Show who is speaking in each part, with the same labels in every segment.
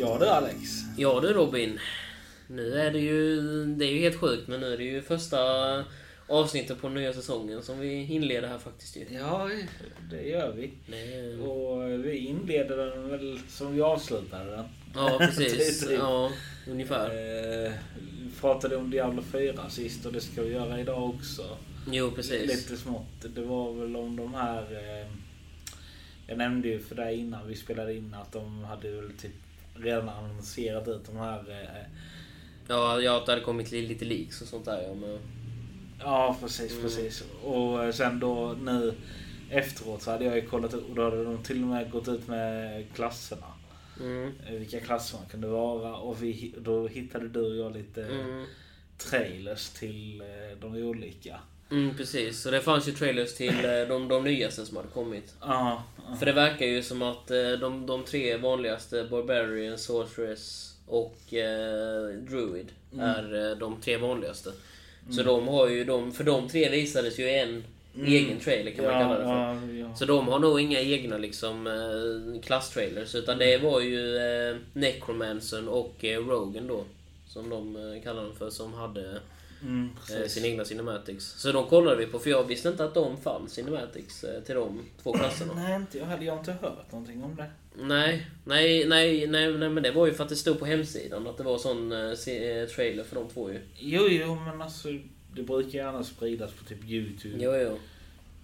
Speaker 1: Ja du Alex.
Speaker 2: Ja du Robin. Nu är det ju... Det är ju helt sjukt men nu är det ju första avsnittet på den nya säsongen som vi inleder här faktiskt ju.
Speaker 1: Ja, det gör vi.
Speaker 2: Det är-
Speaker 1: Och vi inleder den väl som vi avslutade den.
Speaker 2: Ja precis.
Speaker 1: Typ.
Speaker 2: Ja, ungefär.
Speaker 1: Eh, vi pratade om Diablo 4 sist och det ska vi göra idag också.
Speaker 2: Jo precis.
Speaker 1: Lite smått. Det var väl om de här... Eh, jag nämnde ju för dig innan vi spelade in att de hade väl typ redan annonserat ut de här... Eh,
Speaker 2: Ja, ja att det hade kommit li- lite leaks och sånt där ja, men...
Speaker 1: ja, precis,
Speaker 2: Mm.
Speaker 1: precis. Och eh, sen då nu efteråt så hade jag ju kollat upp och då hade de till och med gått ut med klasserna.
Speaker 2: Mm.
Speaker 1: Eh, Vilka klasser man kunde vara och vi, då hittade du och jag lite
Speaker 2: Mm.
Speaker 1: trailers till eh, de olika.
Speaker 2: Mm, precis. Så det fanns ju trailers till eh, de, de nyaste som hade kommit.
Speaker 1: Ja, ja.
Speaker 2: För det verkar ju som att eh, de, de tre vanligaste, Barbarian, Sorceress och eh, Druid,
Speaker 1: Mm.
Speaker 2: är eh, de tre vanligaste. Så de har ju, de, för de tre visades ju en egen trailer kan man
Speaker 1: Mm. ja,
Speaker 2: kalla det för.
Speaker 1: Ja, ja.
Speaker 2: Så de har nog inga egna liksom eh, klasstrailers utan det
Speaker 1: Mm.
Speaker 2: var ju eh, Necromancern och eh, Rogan då. Som de eh, kallar dem för som hade
Speaker 1: Mm,
Speaker 2: eh,
Speaker 1: precis.
Speaker 2: sina egna cinematics. Så de kollade vi på för jag visste inte att de fanns cinematics eh, till de två klasserna.
Speaker 1: Nej, inte jag. Hade jag inte hört någonting om det?
Speaker 2: Nej, nej, nej, nej, nej men det var ju för att det stod på hemsidan att det var sån eh, se- eh, trailer för de två ju.
Speaker 1: Jo, jo, men alltså det brukar ju annars spridas på typ YouTube
Speaker 2: Jo, jo.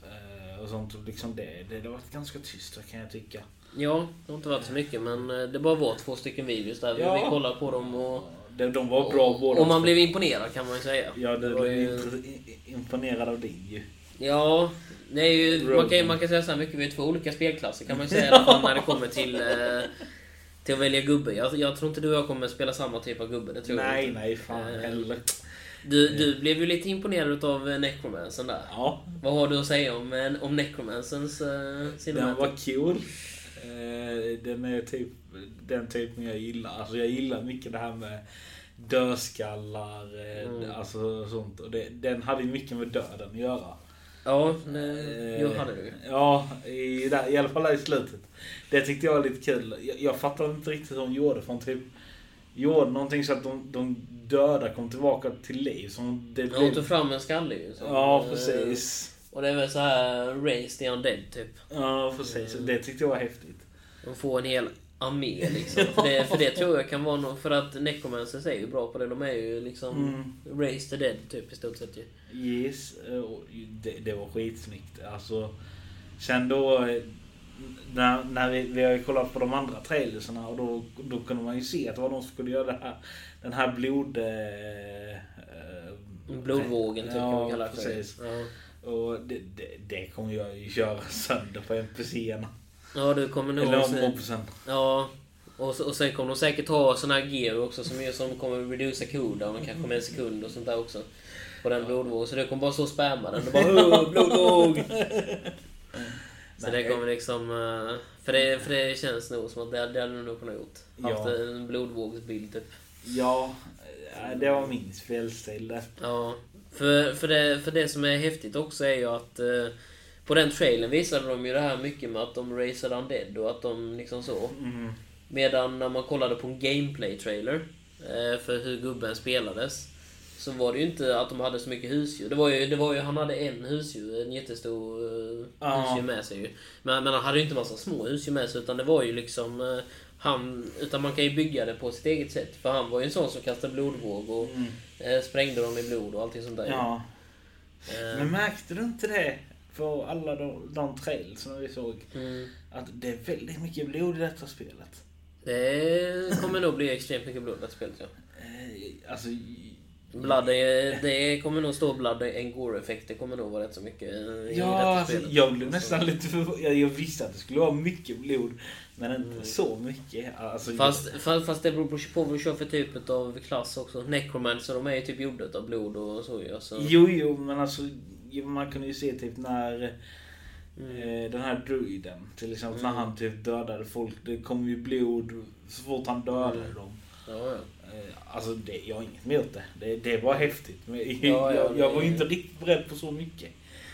Speaker 1: eh, och sånt. och Liksom det, det, det har varit ganska tyst där, kan jag tycka.
Speaker 2: Ja, det har inte varit så mycket men eh, det bara var två stycken videos där vi-
Speaker 1: Ja.
Speaker 2: vi kollade på dem och
Speaker 1: De, de var bra båda
Speaker 2: Och man
Speaker 1: två.
Speaker 2: blev imponerad kan man ju säga.
Speaker 1: Ja, du
Speaker 2: Det var
Speaker 1: blev
Speaker 2: ju-
Speaker 1: impre- i- imponerad av din ju.
Speaker 2: Ja, det är ju, man, kan, ju-
Speaker 1: Rogue.
Speaker 2: man kan säga så här mycket, vi är två olika spelklasser kan man ju säga i alla fall när det kommer till, eh, till att välja gubbe. Jag, jag tror inte du och jag kommer spela samma typ av gubbe, det tror jag
Speaker 1: Nej,
Speaker 2: inte.
Speaker 1: nej, fan
Speaker 2: Eh,
Speaker 1: heller.
Speaker 2: Du, du blev ju lite imponerad av Necromansen där.
Speaker 1: Ja,
Speaker 2: Vad har du att säga om, eh, om Necromansens eh,
Speaker 1: den
Speaker 2: cinematic?
Speaker 1: var cool. Eh, Den är typ den typen jag gillar. Alltså jag gillar mycket det här med dödskallar, eh,
Speaker 2: Mm.
Speaker 1: alltså sånt. Och det, den hade ju mycket med döden att göra.
Speaker 2: Ja, det, jo
Speaker 1: Eh,
Speaker 2: hade du ju.
Speaker 1: Ja, i, där, i alla fall där i slutet. Det tyckte jag var lite kul. Jag, jag fattade inte riktigt hur de gjorde. För de typ gjorde någonting så att de, de döda kom tillbaka till liv. Som det
Speaker 2: Han
Speaker 1: blev...
Speaker 2: tog fram en skalle ju. så.
Speaker 1: Ja,
Speaker 2: Eh,
Speaker 1: precis.
Speaker 2: Och det är väl så här Raised the Undead typ.
Speaker 1: Ja, precis.
Speaker 2: Eh.
Speaker 1: Det tyckte jag var häftigt.
Speaker 2: De får en hel armé liksom. För det, för det tror jag kan vara något, för att Necromancers är ju bra på det. De är ju liksom
Speaker 1: Mm.
Speaker 2: Raise the Dead typ i stort sett ju.
Speaker 1: Yes, eh, och det, det var skitsnyggt. Alltså, sen då eh, när, när vi, vi har ju kollat på de andra trailersarna och då, då kunde man ju se att det var någon som skulle göra det här, den här blod... eh, eh,
Speaker 2: Blodvågen typ kan man
Speaker 1: Ja,
Speaker 2: kalla det för.
Speaker 1: precis.
Speaker 2: Ja.
Speaker 1: Och det, det, det kommer jag ju köra sönder på NPCerna.
Speaker 2: ja, du kommer nog...
Speaker 1: Eller
Speaker 2: och sen-
Speaker 1: mobsen.
Speaker 2: Ja. Och, så- och sen kommer de säkert ha såna här gear också som, ju- som kommer reducera cooldown och kanske med en sekund och sånt där också. På den blodvågen. Så du kommer bara stå och spamma den. Du bara "Åh, blodvåg! Så det
Speaker 1: Nej.
Speaker 2: kommer liksom... eh, För det, för det känns nog som att det, det hade du nog kunnat gjort. Haft
Speaker 1: Ja.
Speaker 2: en blodvågsbild typ.
Speaker 1: Ja, eh, det var min spelstil det.
Speaker 2: Ja, för, för, det, för det som är häftigt också är ju att eh, på den trailern visade de ju det här mycket med att de raceade undead och att de liksom så.
Speaker 1: Mm.
Speaker 2: Medan när man kollade på en gameplay-trailer eh, för hur gubben spelades så var det ju inte att de hade så mycket husdjur. Det var ju, det var ju han hade en husdjur, en jättestor eh,
Speaker 1: Ja.
Speaker 2: husdjur med sig ju. Men, men han hade ju inte massa små husdjur med sig utan det var ju liksom eh, han, utan man kan ju bygga det på sitt eget sätt. För han var ju en sån som kastade blodvåg och
Speaker 1: Mm.
Speaker 2: Eh, Sprängde dem i blod och allting sånt där.
Speaker 1: Ja.
Speaker 2: Eh,
Speaker 1: Men märkte du inte det på alla de, de trails som vi såg?
Speaker 2: mm,
Speaker 1: Att det är väldigt mycket blod i detta spelet.
Speaker 2: det kommer nog bli extremt mycket blod i det här spelet. Ja.
Speaker 1: Eh, Alltså,
Speaker 2: Blood, eh, det kommer nog stå blood and gore-effekt. Det kommer nog vara rätt så mycket eh, i
Speaker 1: ja,
Speaker 2: detta
Speaker 1: alltså,
Speaker 2: spelet.
Speaker 1: jag blev nästan lite förvånad. Jag, jag visste att det skulle vara mycket blod, men inte så mycket. Alltså,
Speaker 2: Mm. Fast, fast, fast det beror på på vad du kör för typ av klass också. Necromancer de är ju typ gjorda av blod och så ju. Alltså.
Speaker 1: Jo, jo, men alltså jo, man kunde ju se typ när
Speaker 2: Mm.
Speaker 1: eh, den här druiden, till exempel när han typ dödade folk. Det kom ju blod så fort han dödade
Speaker 2: Mm.
Speaker 1: dem.
Speaker 2: Ja, ja.
Speaker 1: Eh, Alltså det, jag har inget emot det. det. Det var häftigt. Men
Speaker 2: ja,
Speaker 1: jag, jag var ju
Speaker 2: det-
Speaker 1: inte riktigt beredd på så mycket.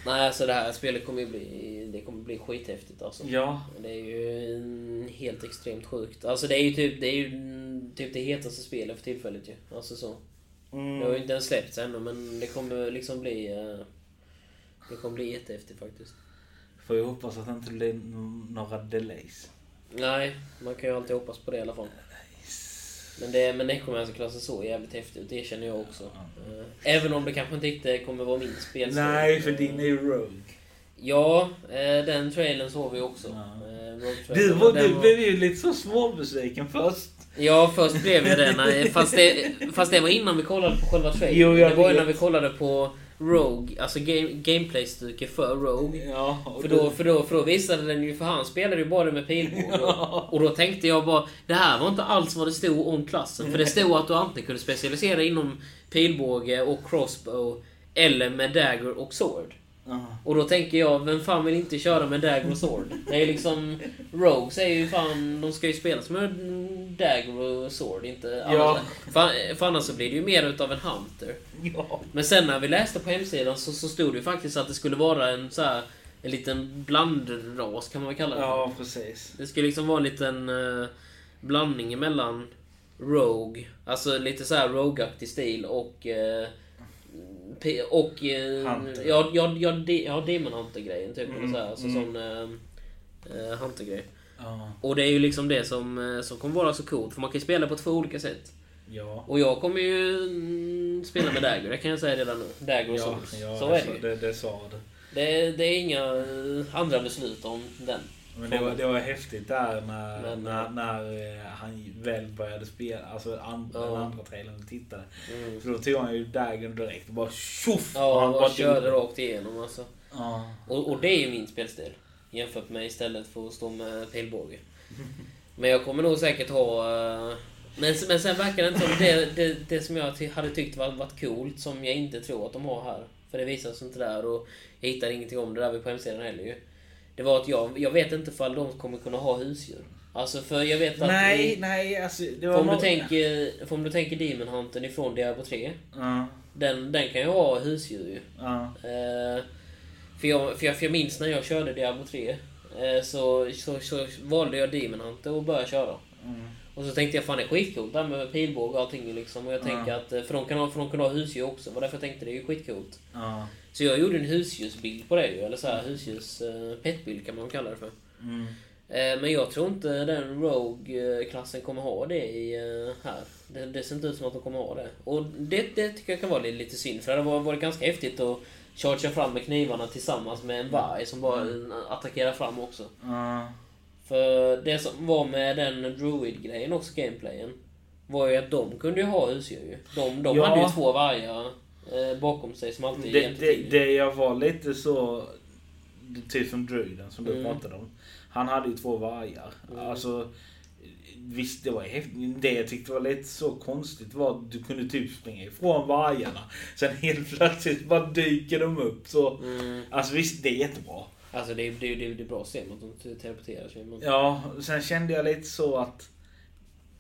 Speaker 2: Nej, alltså det här spelet kommer ju bli, det kommer bli skithäftigt alltså.
Speaker 1: Ja.
Speaker 2: Det är ju en helt extremt sjukt. Alltså det är ju typ det, är ju mm, typ det hetaste spelet för tillfället ju. Alltså så.
Speaker 1: Mm.
Speaker 2: Det har ju inte ens släppts ännu men det kommer liksom bli... eh, Det kommer bli jättehäftigt faktiskt.
Speaker 1: Får ju hoppas att det inte blir n- några delays.
Speaker 2: Nej, man kan ju alltid hoppas på det i alla fall. Men, det, men Necromancer-klassen såg jävligt häftig ut, det känner jag också. Eh, Även om det kanske inte riktigt kommer vara min spelstil.
Speaker 1: Nej, för
Speaker 2: Eh,
Speaker 1: din är ju Rogue.
Speaker 2: Ja, eh, den trailern såg vi också.
Speaker 1: Ja.
Speaker 2: Eh, Rogue
Speaker 1: Du,
Speaker 2: Trailer.
Speaker 1: var,
Speaker 2: Den
Speaker 1: du
Speaker 2: var-
Speaker 1: blev ju lite så småbesviken först.
Speaker 2: Ja, först blev jag det. nej, Fast det, fast det var innan vi kollade på själva trailern.
Speaker 1: Jo, jag
Speaker 2: det var ju
Speaker 1: vet.
Speaker 2: när vi kollade på Rogue, alltså game, gameplay-stuket för Rogue.
Speaker 1: Ja, och
Speaker 2: För då, för, då, för då visade den ju, för han spelade ju bara med pilbåge.
Speaker 1: Ja.
Speaker 2: Och då tänkte jag bara, det här var inte alls vad det stod om klassen. För det stod att du antingen kunde specialisera inom pilbåge och crossbow, eller med dagger och sword.
Speaker 1: Ja.
Speaker 2: Och då tänker jag, vem fan vill inte köra med dagger och sword? Det är liksom... Rogues är ju fan... De ska ju spelas med dagger och sword, inte...
Speaker 1: Ja.
Speaker 2: annars- För, för annars så blir det ju mer utav en hunter.
Speaker 1: ja.
Speaker 2: Men sen när vi läste på hemsidan så, så stod det ju faktiskt att det skulle vara en så här, En liten blandras, kan man väl kalla det för.
Speaker 1: Ja, precis.
Speaker 2: Det skulle liksom vara en liten eh, blandning mellan Rogue, alltså lite så här Rogue-aktig stil och... eh, P- och... eh,
Speaker 1: Hunter. Mm.
Speaker 2: ja, ja, ja, de, ja, Demon Hunter-grejen typ. eller så här, alltså sån... eh, eh, Hunter-grej.
Speaker 1: Ja.
Speaker 2: Och det är ju liksom det som, eh, som kommer vara så coolt, för man kan ju spela på två olika sätt.
Speaker 1: Ja.
Speaker 2: Och jag kommer ju mm, spela med Dagger, det kan jag säga redan nu. Dagger och
Speaker 1: Ja,
Speaker 2: Souls.
Speaker 1: ja,
Speaker 2: så
Speaker 1: det,
Speaker 2: är det
Speaker 1: sa-
Speaker 2: ju.
Speaker 1: det, det sa du.
Speaker 2: Det, det är inga eh, andra beslut om den.
Speaker 1: Men det var, det var häftigt där när,
Speaker 2: Men-
Speaker 1: när, när eh, han väl började spela, alltså an,
Speaker 2: Ja.
Speaker 1: den andra trailern tittade.
Speaker 2: Mm.
Speaker 1: För då tog han ju dagen direkt och bara tjoff!
Speaker 2: Ja,
Speaker 1: han
Speaker 2: och
Speaker 1: bara
Speaker 2: bara körde rakt igenom alltså.
Speaker 1: Ja.
Speaker 2: Och, och det är ju min spelstil. Jämfört med istället för att stå med pilbåge. Men jag kommer nog säkert ha... eh, Men, men sen verkar det inte som det, det, det som jag ty- hade tyckt var, varit coolt som jag inte tror att de har här. För det visas inte där och jag hittar ingenting om det där på hemsidan heller ju. Det var att jag, jag vet inte ifall de kommer kunna ha husdjur. Alltså för jag vet att...
Speaker 1: Nej,
Speaker 2: i-
Speaker 1: nej alltså. Det var
Speaker 2: för om, du
Speaker 1: någon-
Speaker 2: tänker, för om du tänker Demon Hunter ifrån Diablo 3.
Speaker 1: Ja.
Speaker 2: Den, den kan ju ha husdjur ju.
Speaker 1: Ja.
Speaker 2: Eh, för, jag, för, jag, för jag minns när jag körde Diablo 3 eh, så, så, så valde jag Demon Hunter och började köra.
Speaker 1: Mm.
Speaker 2: Och så tänkte jag fan det är skitcoolt det här med pilbåge och allting liksom. Och jag tänker att, eh, för de kan ha, för de kan ha husdjur också. Var därför jag tänkte det är ju skitcoolt.
Speaker 1: Ja.
Speaker 2: Så jag gjorde en husdjursbild på det ju. Eller så här husdjurs eh, petbild kan man kalla det för.
Speaker 1: Mm.
Speaker 2: Eh, Men jag tror inte den Rogue-klassen kommer ha det i, eh, här. Det, det ser inte ut som att de kommer ha det. Och det, det tycker jag kan vara lite, lite synd, för det hade varit- varit ganska häftigt att chargea fram med knivarna tillsammans med en varg som bara
Speaker 1: Mm.
Speaker 2: eh, attackerar fram också.
Speaker 1: Ja.
Speaker 2: För det som var med den Druid-grejen också, gameplayen, var ju att de kunde ju ha husdjur ju. De, de
Speaker 1: Ja.
Speaker 2: hade ju två vargar eh, bakom sig som alltid
Speaker 1: Det,
Speaker 2: hjälpte
Speaker 1: det,
Speaker 2: till.
Speaker 1: det jag var lite så... Typ som druiden som du
Speaker 2: Mm.
Speaker 1: pratade om. Han hade ju två vargar. Alltså, visst, det var häftigt. Det jag tyckte var lite så konstigt var att du kunde typ springa ifrån vargarna. Sen helt plötsligt bara dyker de upp. Så,
Speaker 2: Mm.
Speaker 1: alltså visst, det är jättebra.
Speaker 2: Alltså det, är- det, är- det, är- det är bra att se att de inte teleporteras ju. men-
Speaker 1: Ja, sen kände jag lite så att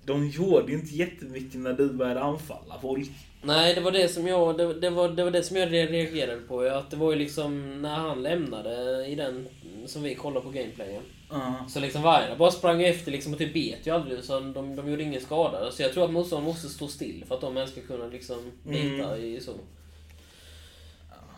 Speaker 1: de gjorde ju inte jättemycket när du började anfalla folk.
Speaker 2: Nej, det var det som jag, det, det var, det var det som jag re- reagerade på. ja. Att det var ju liksom när han lämnade i den som vi kollade på gameplayen.
Speaker 1: Ja.
Speaker 2: Så liksom vargarna bara sprang ju efter liksom och typ bet ju aldrig. Så de, de gjorde ingen skada. Så jag tror att motståndaren måste stå still för att de ens ska kunna liksom bita i så.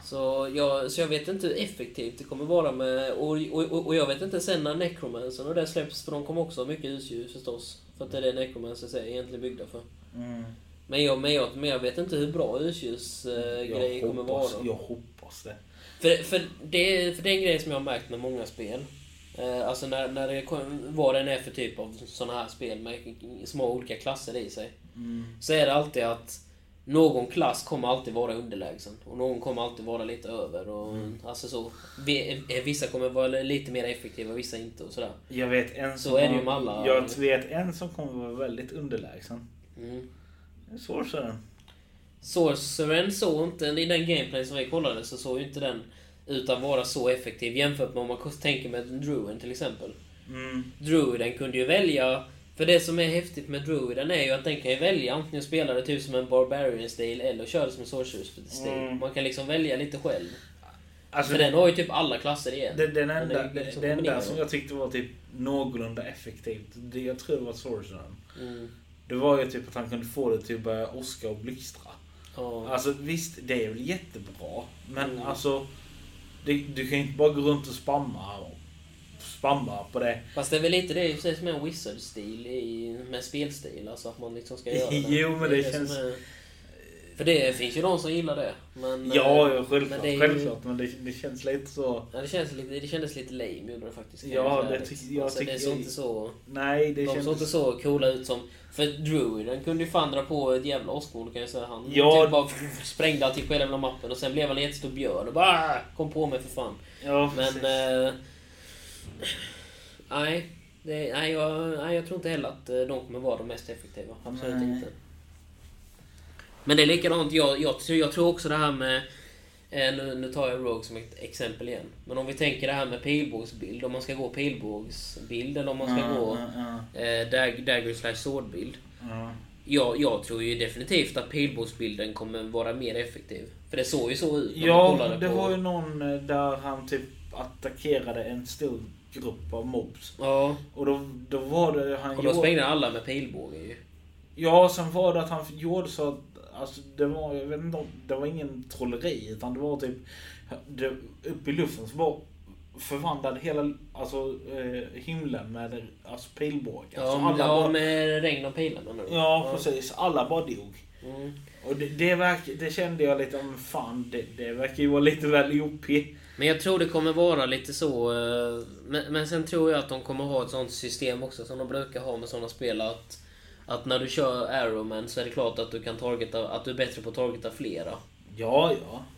Speaker 2: Så jag, så jag vet inte hur effektivt det kommer vara med... Och, och, och, och jag vet inte sen när Necromancer och det släpps, för de kommer också ha mycket husdjur förstås. För att det är det Necromancer är egentligen byggda för.
Speaker 1: Mm.
Speaker 2: Men jag, men, jag, men jag vet inte hur bra urtjus
Speaker 1: Jag
Speaker 2: Eh, grejer kommer vara.
Speaker 1: hoppas- Jag hoppas det.
Speaker 2: För, för, det, för det är en grej som jag har märkt med många spel. Eh, alltså när, när det kom, vad den är för typ av sådana här spel med små olika klasser i sig.
Speaker 1: Mm.
Speaker 2: Så är det alltid att någon klass kommer alltid vara underlägsen. Och någon kommer alltid vara lite över. Och,
Speaker 1: Mm.
Speaker 2: Alltså så, vi- eh, vissa kommer vara lite mer effektiva, vissa inte och sådär.
Speaker 1: Jag vet en
Speaker 2: Så
Speaker 1: som
Speaker 2: är det ju med alla-
Speaker 1: Jag vet en som kommer vara väldigt underlägsen.
Speaker 2: Mm.
Speaker 1: Sorceren.
Speaker 2: Sorceren såg inte, i den gameplay som vi kollade så såg ju inte den ut att vara så effektiv jämfört med om man tänker med Druiden till exempel.
Speaker 1: Mm.
Speaker 2: Druiden kunde ju välja, för det som är häftigt med Druiden är ju att den kan ju välja antingen spela det typ som en Barbarian-stil eller köra det som en Sorcerer-stil.
Speaker 1: Mm.
Speaker 2: Man kan liksom välja lite själv.
Speaker 1: Alltså,
Speaker 2: För den har ju typ alla klasser igen.
Speaker 1: det, den enda,
Speaker 2: Den är ju liksom
Speaker 1: det enda
Speaker 2: kombinerad.
Speaker 1: som jag tyckte var typ någorlunda effektivt, det, jag tror det var Sorcerern.
Speaker 2: Mm.
Speaker 1: Det var ju typ att han kunde få det till att börja åska och blixtra.
Speaker 2: Ja.
Speaker 1: Alltså visst, det är väl jättebra. Men
Speaker 2: Mm.
Speaker 1: alltså, det, du kan ju inte bara gå runt och spamma, och spamma på det.
Speaker 2: Fast det är väl lite det i och för sig som är en wizard-stil i- med spelstil. Alltså att man liksom ska göra det.
Speaker 1: Jo, men det
Speaker 2: som
Speaker 1: känns-
Speaker 2: Är... För det finns ju de som gillar det. Men,
Speaker 1: ja,
Speaker 2: eh,
Speaker 1: ja, självklart.
Speaker 2: men det är ju-
Speaker 1: självklart men det, det känns lite så...
Speaker 2: Ja, det, känns lite, det kändes lite lame gjorde det faktiskt. kan
Speaker 1: Ja,
Speaker 2: jag säga.
Speaker 1: det tyck- jag
Speaker 2: alltså, det
Speaker 1: tycker-
Speaker 2: såg inte så...
Speaker 1: Nej, det
Speaker 2: de
Speaker 1: känns...
Speaker 2: såg inte så coola ut som... För Druiden kunde ju fan dra på ett jävla åskmoln kan jag säga. Han
Speaker 1: Ja.
Speaker 2: typ bara sprängde allting på hela jävla mappen och sen blev han en jättestor björn och bara "Ah, kom på mig för fan.
Speaker 1: Ja,
Speaker 2: Men...
Speaker 1: precis.
Speaker 2: eh, Nej. Det, nej, jag, nej, jag tror inte heller att eh, de kommer vara de mest effektiva. Absolut
Speaker 1: Nej.
Speaker 2: inte. Men det är likadant. Jag, jag, tror- jag tror också det här med... eh, Nu, nu tar jag Rogue som ett exempel igen. Men om vi tänker det här med pilbågsbild. Om man ska gå pilbågsbild eller om man ska
Speaker 1: Ja,
Speaker 2: gå
Speaker 1: ja, ja,
Speaker 2: eh, dag, dagger slash swordbild.
Speaker 1: ja.
Speaker 2: Jag, jag tror ju definitivt att pilbågsbilden kommer vara mer effektiv. För det såg ju så ut. när man
Speaker 1: Ja,
Speaker 2: kollade
Speaker 1: det
Speaker 2: på-
Speaker 1: var ju någon eh, där han typ attackerade en stor grupp av mobs.
Speaker 2: Ja,
Speaker 1: Och då, då var det han
Speaker 2: och då sprängde alla med pilbåge ju.
Speaker 1: Ja, sen var det att han gjorde så att... Alltså det var, jag vet inte, om- det var ingen trolleri utan det var typ... Det, upp i luften så bara förvandlade hela alltså, eh, himlen med alltså, pilbågar.
Speaker 2: Ja,
Speaker 1: så
Speaker 2: men-
Speaker 1: alla
Speaker 2: ja
Speaker 1: bara,
Speaker 2: med regn och pilar menar du?
Speaker 1: ja, precis. Alla bara dog.
Speaker 2: Mm.
Speaker 1: Och det, det, verk, det kände jag lite, om fan det, det verkar ju vara lite väl OP.
Speaker 2: Men jag tror det kommer vara lite så... eh, Men, men sen tror jag att de kommer ha ett sånt system också som de brukar ha med såna spel att... Att när du kör Arrowman så är det klart att du kan targeta, att du är bättre på att targeta flera.
Speaker 1: Ja,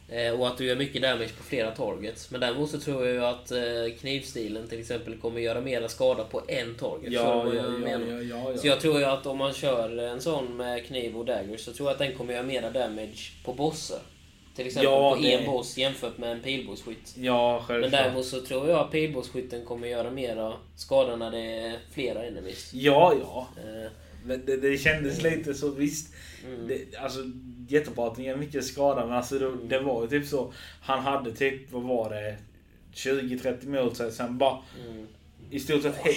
Speaker 1: ja.
Speaker 2: Eh, och att du gör mycket damage på flera targets. Men däremot så tror jag ju att eh, knivstilen till exempel kommer göra mera skada på en target.
Speaker 1: Ja,
Speaker 2: Förstår du
Speaker 1: ja,
Speaker 2: vad
Speaker 1: ja,
Speaker 2: jag
Speaker 1: ja,
Speaker 2: menar?
Speaker 1: ja, ja,
Speaker 2: Så jag tror ju att om man kör en sån med kniv och dagger så tror jag att den kommer göra mera damage på bossar. Till exempel
Speaker 1: Ja,
Speaker 2: på
Speaker 1: det-
Speaker 2: en boss jämfört med en pilbågsskytt.
Speaker 1: ja
Speaker 2: Men
Speaker 1: självklart.
Speaker 2: däremot så tror jag att pilbågsskytten kommer göra mera skada när det är flera enemies.
Speaker 1: Ja, ja.
Speaker 2: Eh, mm,
Speaker 1: Men det, det kändes lite så, visst. Det, alltså, jättebra att den gör mycket skada, men alltså, det, det var ju typ så. Han hade typ, vad var det, 20-30 mot sig. Sen bara,
Speaker 2: Mm.
Speaker 1: i stort sett he,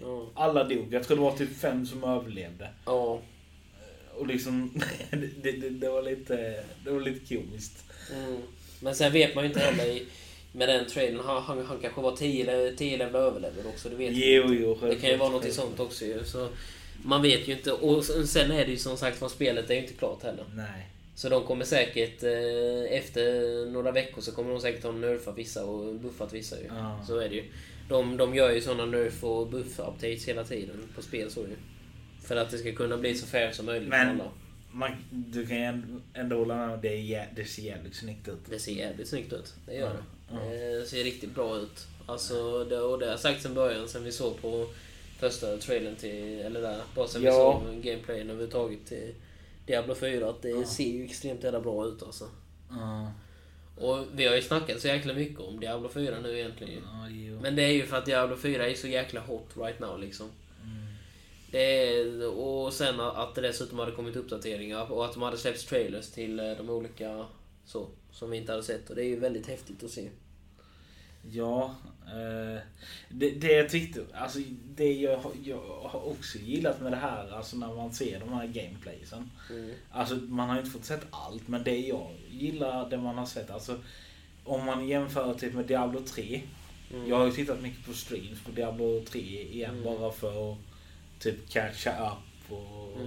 Speaker 2: Ja.
Speaker 1: alla dog. Jag tror det var typ fem som överlevde.
Speaker 2: Ja.
Speaker 1: Och liksom, det, det, det, var, lite, det var lite komiskt.
Speaker 2: Mm. Men sen vet man ju inte heller i, med den traden. Han, han, han kanske var 10 10 level överlever också. Det vet man
Speaker 1: Jo, jo,
Speaker 2: Det kan ju vara något
Speaker 1: självklart.
Speaker 2: sånt också ju. Så man vet ju inte. Och sen är det ju som sagt vad spelet är ju inte klart heller.
Speaker 1: Nej.
Speaker 2: Så de kommer säkert, eh, efter några veckor så kommer de säkert ha nerfat vissa och buffat vissa ju.
Speaker 1: Ja.
Speaker 2: Så är det ju. De, de gör ju sådana nerf och buff-updates hela tiden på spel så ju. För att det ska kunna bli så fair som möjligt
Speaker 1: Men-
Speaker 2: för alla.
Speaker 1: Man, du kan ju ändå- ändå hålla med om det, är jä- det ser jävligt snyggt ut.
Speaker 2: Det ser jävligt snyggt ut. Det gör det. Eh, Det ser riktigt bra ut. Alltså, det, och det har jag sagt sen början, sen vi såg på första trailern till, eller där, bara sen vi
Speaker 1: Ja.
Speaker 2: såg gameplayen överhuvudtaget till Diablo 4, att det ser ju extremt jävla bra ut alltså.
Speaker 1: Ja,
Speaker 2: Och vi har ju snackat så jäkla mycket om Diablo 4 nu egentligen ju.
Speaker 1: ja, jo.
Speaker 2: Men det är ju för att Diablo 4 är så jäkla hot right now liksom.
Speaker 1: Mm.
Speaker 2: Det är, och sen att det dessutom hade kommit uppdateringar och att de hade släppt trailers till eh, de olika så, som vi inte hade sett. Och det är ju väldigt häftigt att se.
Speaker 1: Ja, eh, det, det jag tyckte, alltså det jag, har- jag har också gillat med det här, alltså när man ser de här gameplaysen. Alltså man har ju inte fått sett allt, men det jag gillar, det man har sett, alltså om man jämför typ med Diablo 3. Jag har ju tittat mycket på streams på Diablo 3 igen bara för att typ catcha up och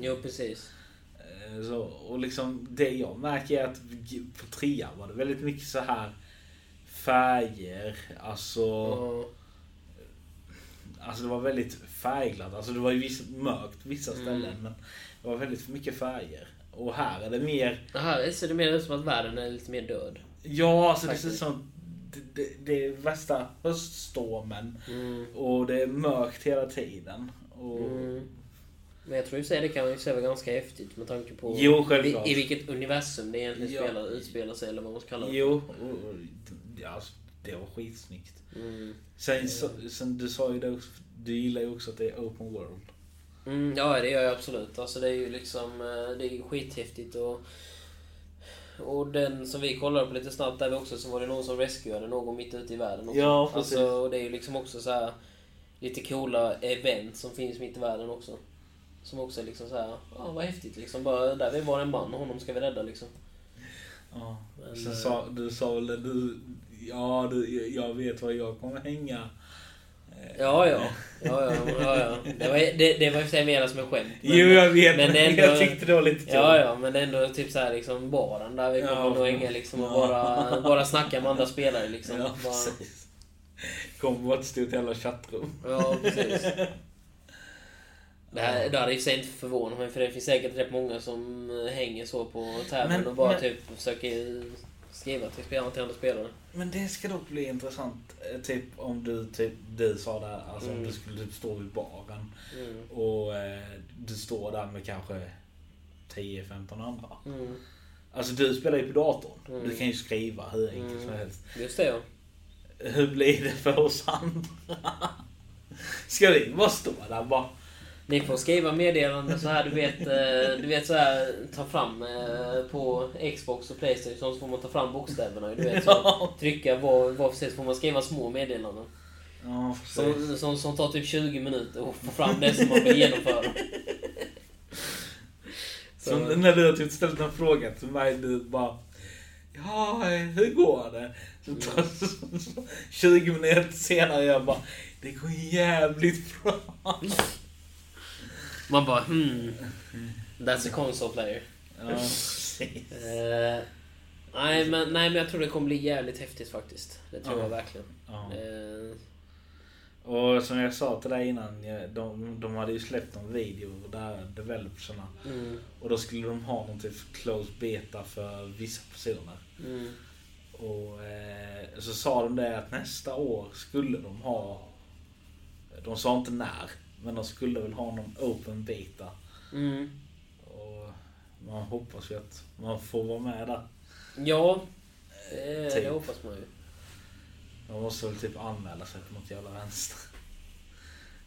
Speaker 2: Jo, precis.
Speaker 1: Eh, Så, och liksom det jag märker är att g- på trean var det väldigt mycket så här färger. Alltså,
Speaker 2: Ja.
Speaker 1: alltså det var väldigt färgglatt. Alltså det var ju viss, mörkt vissa
Speaker 2: Mm.
Speaker 1: ställen men det var väldigt mycket färger. Och här är det mer,
Speaker 2: Det här ser det mer ut som att världen är lite mer död.
Speaker 1: ja alltså det ser ut
Speaker 2: Faktiskt.
Speaker 1: som det, det, det är värsta höststormen. Och det är mörkt hela tiden. Och,
Speaker 2: Mm. Men jag tror ju att det kan ju se vara ganska häftigt med tanke på
Speaker 1: Jo, självklart.
Speaker 2: i, i vilket universum det egentligen
Speaker 1: Ja.
Speaker 2: spelar, utspelar sig eller vad man ska kalla det.
Speaker 1: Jo, och, och, ja, alltså, det var skitsnyggt.
Speaker 2: Mm.
Speaker 1: Sen, så, sen du sa ju det också, du gillar ju också att det är open world.
Speaker 2: Mm, ja, det gör jag absolut. Alltså, det är ju liksom eh, det är ju skithäftigt och, Och den som vi kollade på lite snabbt där vi också så var det någon som rescuade någon mitt ute i världen också.
Speaker 1: Ja, precis.
Speaker 2: Alltså, och det är ju liksom också så här lite coola event som finns mitt i världen också. Som också är liksom så här, ja vad häftigt liksom. Bara, där vi var en man, honom ska vi rädda liksom.
Speaker 1: Ja.
Speaker 2: Men,
Speaker 1: Sen
Speaker 2: eh,
Speaker 1: sa, du sa väl det, du... Ja, du, jag vet var jag kommer hänga.
Speaker 2: Ja, ja. Ja, ja, ja, ja. Det var det, det var i och för sig menat som en skämt. men-
Speaker 1: jo, jag vet.
Speaker 2: men
Speaker 1: Men,
Speaker 2: det är ändå-
Speaker 1: jag tyckte det var lite kul.
Speaker 2: Ja, ja, men ändå typ så här liksom baren där vi kommer
Speaker 1: Ja.
Speaker 2: nog hänga liksom och
Speaker 1: Ja.
Speaker 2: bara, bara snacka med andra spelare liksom.
Speaker 1: Ja,
Speaker 2: bara,
Speaker 1: precis. Kommer vara ett stort jävla chattrum.
Speaker 2: ja precis. Det, här, det hade i och för sig inte förvånat mig för det finns säkert rätt många som hänger så på tävlingen
Speaker 1: Men-
Speaker 2: och bara
Speaker 1: men-
Speaker 2: typ försöker skriva till spelarna till andra spelare.
Speaker 1: Men det ska dock bli intressant. eh, Typ om du, typ, du sa det här, alltså
Speaker 2: Mm.
Speaker 1: om du skulle typ stå vid baren
Speaker 2: Mm.
Speaker 1: och eh, du står där med kanske 10-15 andra.
Speaker 2: Mm.
Speaker 1: Alltså du spelar ju på datorn.
Speaker 2: Mm.
Speaker 1: Du kan ju skriva hur enkelt
Speaker 2: Mm.
Speaker 1: som helst.
Speaker 2: Just det ja.
Speaker 1: Hur blir det för oss andra? Ska vi bara stå där bara?
Speaker 2: Ni får skriva meddelanden så här, du vet, eh, du vet så här, ta fram eh, på Xbox och Playstation så får man ta fram bokstäverna. Du vet, så,
Speaker 1: Ja.
Speaker 2: trycka var, var för sig så får man skriva små meddelanden.
Speaker 1: Ja, precis.
Speaker 2: Som, som, som tar typ 20 minuter att få fram det som man vill genomföra.
Speaker 1: Som
Speaker 2: Så,
Speaker 1: när du har typ ställt en fråga till mig, du bara Ja, eh, hur går det? Så
Speaker 2: Mm.
Speaker 1: tar, 20 minuter senare jag bara Det går jävligt bra.
Speaker 2: man bara hmm. That's a console player.
Speaker 1: Ja, precis.
Speaker 2: Eh, nej, men, nej men jag tror det kommer bli jävligt häftigt faktiskt. Det tror
Speaker 1: Ja.
Speaker 2: jag verkligen.
Speaker 1: Ja.
Speaker 2: Eh,
Speaker 1: Och som jag sa till dig innan, ja, de, de hade ju släppt en video där developerserna
Speaker 2: mm,
Speaker 1: och då skulle de ha någon typ closed beta för vissa personer.
Speaker 2: mm,
Speaker 1: Och eh, så sa de det att nästa år skulle de ha... De sa inte när, men de skulle väl ha någon open beta.
Speaker 2: mm.
Speaker 1: Och man hoppas ju att man får vara med där.
Speaker 2: Ja, det, det
Speaker 1: Typ.
Speaker 2: hoppas man ju.
Speaker 1: Man måste väl typ anmäla sig på något jävla vänster.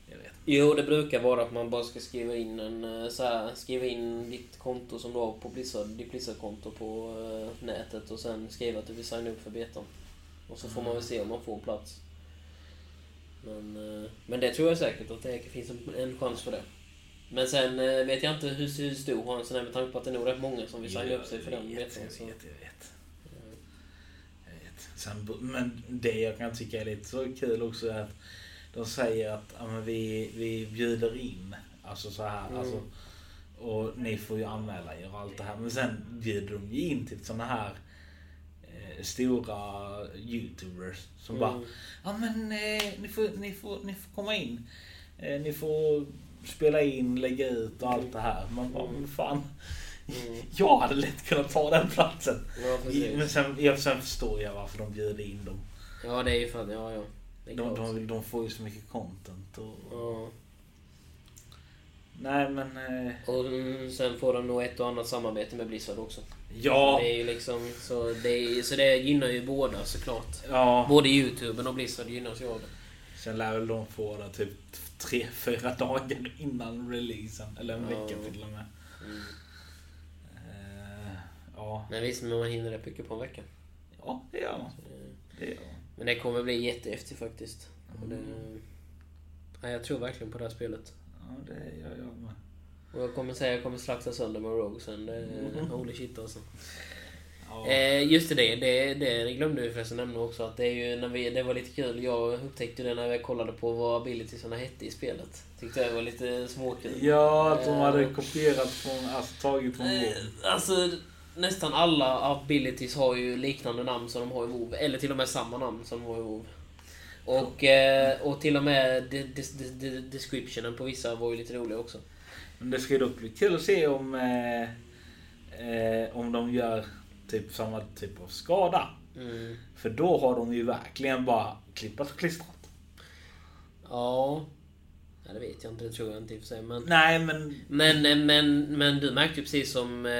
Speaker 1: Jag vet
Speaker 2: Jo, det brukar vara att man bara ska skriva in en eh, så här, skriva in ditt konto som du har på Blizzard, ditt Blizzard-konto på eh, nätet och sen skriva att du vill signa upp för betan. Och så får man väl se om man får plats. Men, eh, men det tror jag säkert att det finns en- en chans för det. Men sen eh, vet jag inte hur, hur stor chansen är med tanke på att det är nog rätt många som vill signa upp sig för den
Speaker 1: Jag vet,
Speaker 2: betan.
Speaker 1: jag vet,
Speaker 2: så-
Speaker 1: jag vet. Jag vet. Sen, men det jag kan tycka är lite så kul också är att de säger att ja, men vi, vi bjuder in. Alltså så här.
Speaker 2: Mm.
Speaker 1: Alltså, och ni får ju anmäla er och allt det här. Men sen bjuder de ju in till såna här eh, stora youtubers som bara
Speaker 2: Mm.
Speaker 1: Ja men eh, ni, får, ni, får, ni får komma in. Eh, ni får spela in, lägga ut och allt det här. Man bara, men fan.
Speaker 2: Mm.
Speaker 1: Jag hade lätt kunnat ta den platsen.
Speaker 2: Ja,
Speaker 1: Men
Speaker 2: precis.
Speaker 1: sen, jag, sen förstår jag varför de bjuder in dem.
Speaker 2: Ja, det är ju fan, ja, ja. Det är
Speaker 1: De,
Speaker 2: klart.
Speaker 1: de, vill- de får ju så mycket content. Och...
Speaker 2: Ja.
Speaker 1: Nej men... eh,
Speaker 2: Och mm, sen får de nog ett och annat samarbete med Blizzard också.
Speaker 1: Ja.
Speaker 2: Det är ju liksom, så, det är, så det gynnar ju båda såklart.
Speaker 1: Ja.
Speaker 2: Både YouTuben och Blizzard gynnas ju av det.
Speaker 1: Sen lär väl de få det typ tre, fyra dagar innan releasen. Eller en
Speaker 2: Ja.
Speaker 1: vecka till och med. Eh, Ja.
Speaker 2: Men visst, men man hinner rätt mycket på en vecka.
Speaker 1: Ja, det gör man.
Speaker 2: Eh,
Speaker 1: Det gör man.
Speaker 2: Men det kommer bli jättehäftigt faktiskt. Och det, ja, jag tror verkligen på det här spelet.
Speaker 1: Ja, det gör jag med.
Speaker 2: Och jag kommer säga jag kommer slakta sönder Morog sen. Det, Holy shit alltså.
Speaker 1: Ja.
Speaker 2: Eh, just det, det, det glömde vi förresten nämna också. Att det, är ju när vi, det var lite kul. Jag upptäckte det när jag kollade på vad abilitiesarna hette i spelet. Tyckte jag var lite småkul.
Speaker 1: Ja, att de
Speaker 2: Eh.
Speaker 1: hade kopierat från, alltså tagit från
Speaker 2: Eh,
Speaker 1: vår.
Speaker 2: Alltså, nästan alla abilities har ju liknande namn som de har i WoW Eller till och med samma namn som de har i WoW Och, eh, och till och med de, de, de, de, descriptionen på vissa var ju lite rolig också.
Speaker 1: Men det ska ju dock bli kul att se om, eh, eh, om de gör typ samma typ av skada.
Speaker 2: Mm.
Speaker 1: För då har de ju verkligen bara klippat och klistrat.
Speaker 2: Ja. ja, det vet jag inte. Det tror jag inte i och för sig. Men,
Speaker 1: Nej men...
Speaker 2: men, eh, men, men du märkte ju precis som eh,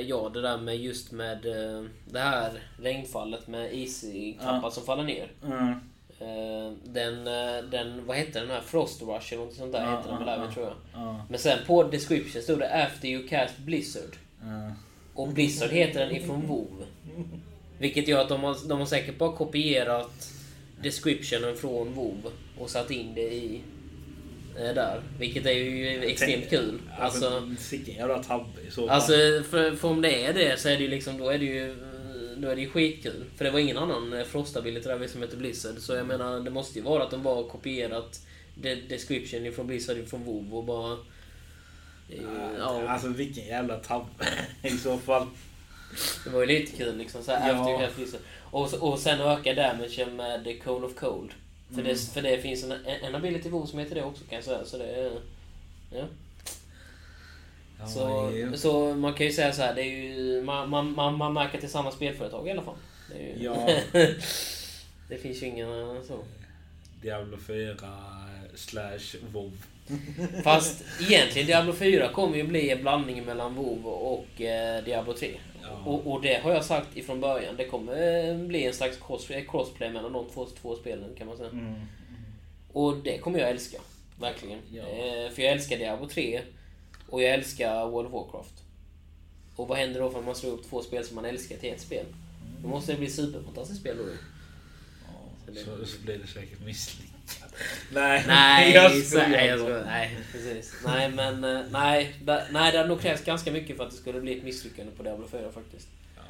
Speaker 2: jag det där med just med eh, det här regnfallet med isknappar
Speaker 1: Ja.
Speaker 2: som faller ner.
Speaker 1: Mm,
Speaker 2: Eh, den, eh, den, vad hette den här? Frost Rush eller något sånt där
Speaker 1: Ja,
Speaker 2: hette den
Speaker 1: ja,
Speaker 2: väl även
Speaker 1: ja.
Speaker 2: tror jag.
Speaker 1: ja,
Speaker 2: Men sen på description stod det After you cast Blizzard.
Speaker 1: ja.
Speaker 2: Och Blizzard heter den ifrån WoW. Vilket gör att de har, de har säkert bara kopierat descriptionen från WoW och satt in det i eh, där. Vilket är ju extremt kul. Alltså,
Speaker 1: Sicken jävla tabbe i så fall.
Speaker 2: alltså för, för om det är det så är det ju liksom, då är det ju då är det ju skitkul. För det var ingen annan eh, Frosta-billionaire som hette Blizzard. Så jag menar, det måste ju vara att de bara har kopierat de- description från Blizzard från WoW och bara... eh, ja.
Speaker 1: Alltså vilken jävla tabbe i så fall.
Speaker 2: Det var ju lite kul liksom. Så här,
Speaker 1: Ja.
Speaker 2: efter, efter, liksom. Och, så- och sen ökar damagen med Cold of Cold. För, det, för det finns en, en ability WoW som heter det också kan jag säga. Så det är... Ja.
Speaker 1: Ja,
Speaker 2: Så,
Speaker 1: ju-
Speaker 2: så man kan ju säga så här, det är ju, man, man, man, man märker till samma spelföretag i alla fall. Det, är ju,
Speaker 1: Ja.
Speaker 2: det finns ju inga så.
Speaker 1: Diablo 4 slash WoW.
Speaker 2: Fast egentligen Diablo 4 kommer ju bli en blandning mellan WoW och eh, Diablo 3.
Speaker 1: Ja.
Speaker 2: Och, och det har jag sagt ifrån början. Det kommer eh, bli en slags cross, eh, crossplay mellan de två, två spelen kan man säga.
Speaker 1: Mm.
Speaker 2: Och det kommer jag älska. Verkligen.
Speaker 1: Ja.
Speaker 2: Eh, för jag älskar Diablo 3 och jag älskar World of Warcraft. Och vad händer då för man slår upp två spel som man älskar till ett spel?
Speaker 1: Mm.
Speaker 2: Då måste det bli superfantastiskt spel då. ju.
Speaker 1: Så, så blir det säkert misslyckat. Nej,
Speaker 2: Nej,
Speaker 1: jag
Speaker 2: så-
Speaker 1: skojar.
Speaker 2: nej, jag skojar. nej, precis. Nej, men eh, nej, da, nej, det hade nog krävts ganska mycket för att det skulle bli ett misslyckande på Diablo 4 faktiskt.
Speaker 1: Ja.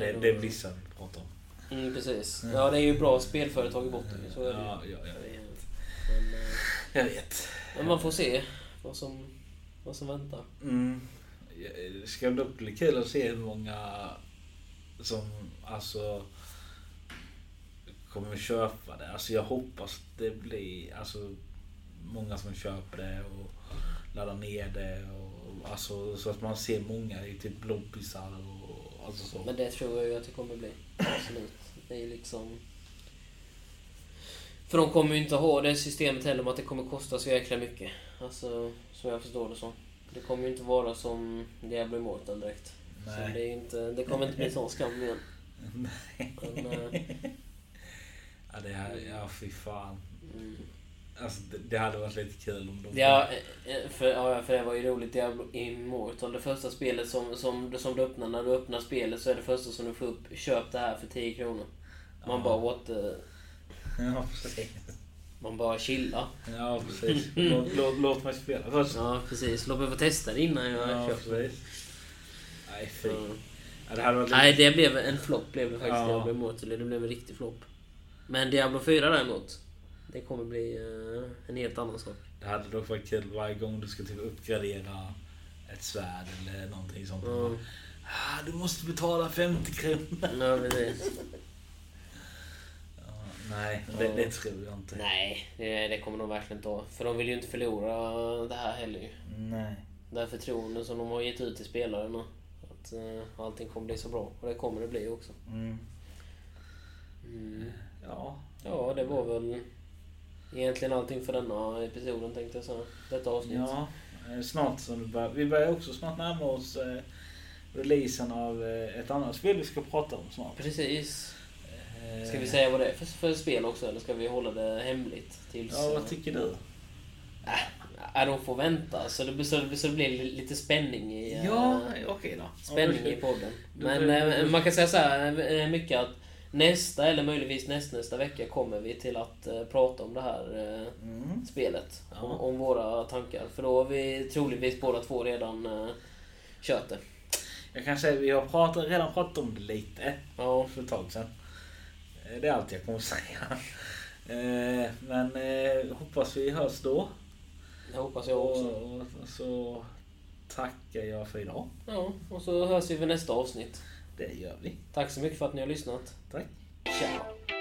Speaker 1: Det, det är Blizzard vi pratar om.
Speaker 2: Mm, precis. Ja, det är ju bra spelföretag i botten. ju, Så är det ju.
Speaker 1: Ja, ja, jag vet.
Speaker 2: Men, eh,
Speaker 1: Jag vet.
Speaker 2: men man får se vad som, vad som väntar.
Speaker 1: Mm. Det ska dock bli kul att se hur många som alltså kommer köpa det. Alltså jag hoppas det blir alltså många som köper det och laddar ner det. Och, alltså, så att man ser många i typ lobbyisar och alltså så.
Speaker 2: Men det tror jag ju att det kommer bli. Absolut. Det är ju liksom... För de kommer ju inte ha det systemet heller med att det kommer kosta så jäkla mycket. Alltså, som jag förstår det som. Det kommer ju inte vara som Diablo Immortal direkt. Så
Speaker 1: Nej.
Speaker 2: det, är ju inte, det kommer inte bli sån skam igen. Men, eh,
Speaker 1: Ja, det här, ja fy fan.
Speaker 2: mm.
Speaker 1: Alltså, det, det hade varit lite kul om de...
Speaker 2: Ja, eh, för, ja, för det var ju roligt. Diablo Immortal, det första spelet som, som, som du öppnar. När du öppnar spelet så är det första som du får upp, köp det här för 10 kronor. Man
Speaker 1: Ja.
Speaker 2: bara, what the...
Speaker 1: Ja, precis.
Speaker 2: Man bara chilla.
Speaker 1: Ja, precis. Låt, låt, låt mig spela först.
Speaker 2: Ja, precis. Låt mig få testa det innan jag
Speaker 1: Ja,
Speaker 2: köper. det.
Speaker 1: precis. Nej, fy.
Speaker 2: Ja.
Speaker 1: Ja, det hade varit lite...
Speaker 2: Nej, det blev en flopp blev det faktiskt.
Speaker 1: Ja.
Speaker 2: Diablo Immortal. Det blev en riktig flopp. Men Diablo 4 däremot. Det kommer bli eh, en helt annan sak.
Speaker 1: Det hade dock varit kul varje gång du ska typ uppgradera ett svärd eller någonting sånt.
Speaker 2: Ja,
Speaker 1: Ah, du måste betala 50 kronor.
Speaker 2: ja precis.
Speaker 1: Ja, nej, det,
Speaker 2: Ja.
Speaker 1: det tror jag inte.
Speaker 2: Nej, det, det kommer de verkligen inte ha. För de vill ju inte förlora det här heller ju.
Speaker 1: Nej.
Speaker 2: Det här förtroende som de har gett ut till spelarna. Att eh, allting kommer bli så bra. Och det kommer det bli också.
Speaker 1: Mm.
Speaker 2: Mm.
Speaker 1: Ja.
Speaker 2: Ja, det var väl egentligen allting för denna episoden tänkte jag säga. Detta avsnitt.
Speaker 1: ja. eh, Snart som vi börjar. Vi börjar också snart närma oss eh, releasen av eh, ett annat spel vi ska prata om snart.
Speaker 2: Precis.
Speaker 1: Eh,
Speaker 2: Ska vi säga vad det är för, för spel också eller ska vi hålla det hemligt? Tills,
Speaker 1: Ja, vad tycker du?
Speaker 2: äh, de får vänta så det, blir- så, det blir- så det blir li- lite spänning i, eh,
Speaker 1: okej då.
Speaker 2: spänning i podden.
Speaker 1: då
Speaker 2: Men
Speaker 1: blir det-
Speaker 2: eh, man kan säga så här eh, mycket att nästa eller möjligtvis nästnästa vecka kommer vi till att eh, prata om det här eh,
Speaker 1: Mm.
Speaker 2: spelet.
Speaker 1: Ja.
Speaker 2: Om, om våra tankar. För då har vi troligtvis båda två redan eh, kört det.
Speaker 1: Jag kan säga vi har pratat, redan pratat om det lite.
Speaker 2: Ja,
Speaker 1: för ett tag sedan. Eh, Det är allt jag kommer att säga. Eh, Men eh, hoppas vi hörs då.
Speaker 2: det hoppas jag
Speaker 1: Och,
Speaker 2: också.
Speaker 1: och så tackar jag för idag.
Speaker 2: Ja, och så hörs vi vid nästa avsnitt.
Speaker 1: Det gör vi.
Speaker 2: Tack så mycket för att ni har lyssnat.
Speaker 1: Tack.
Speaker 2: Ciao!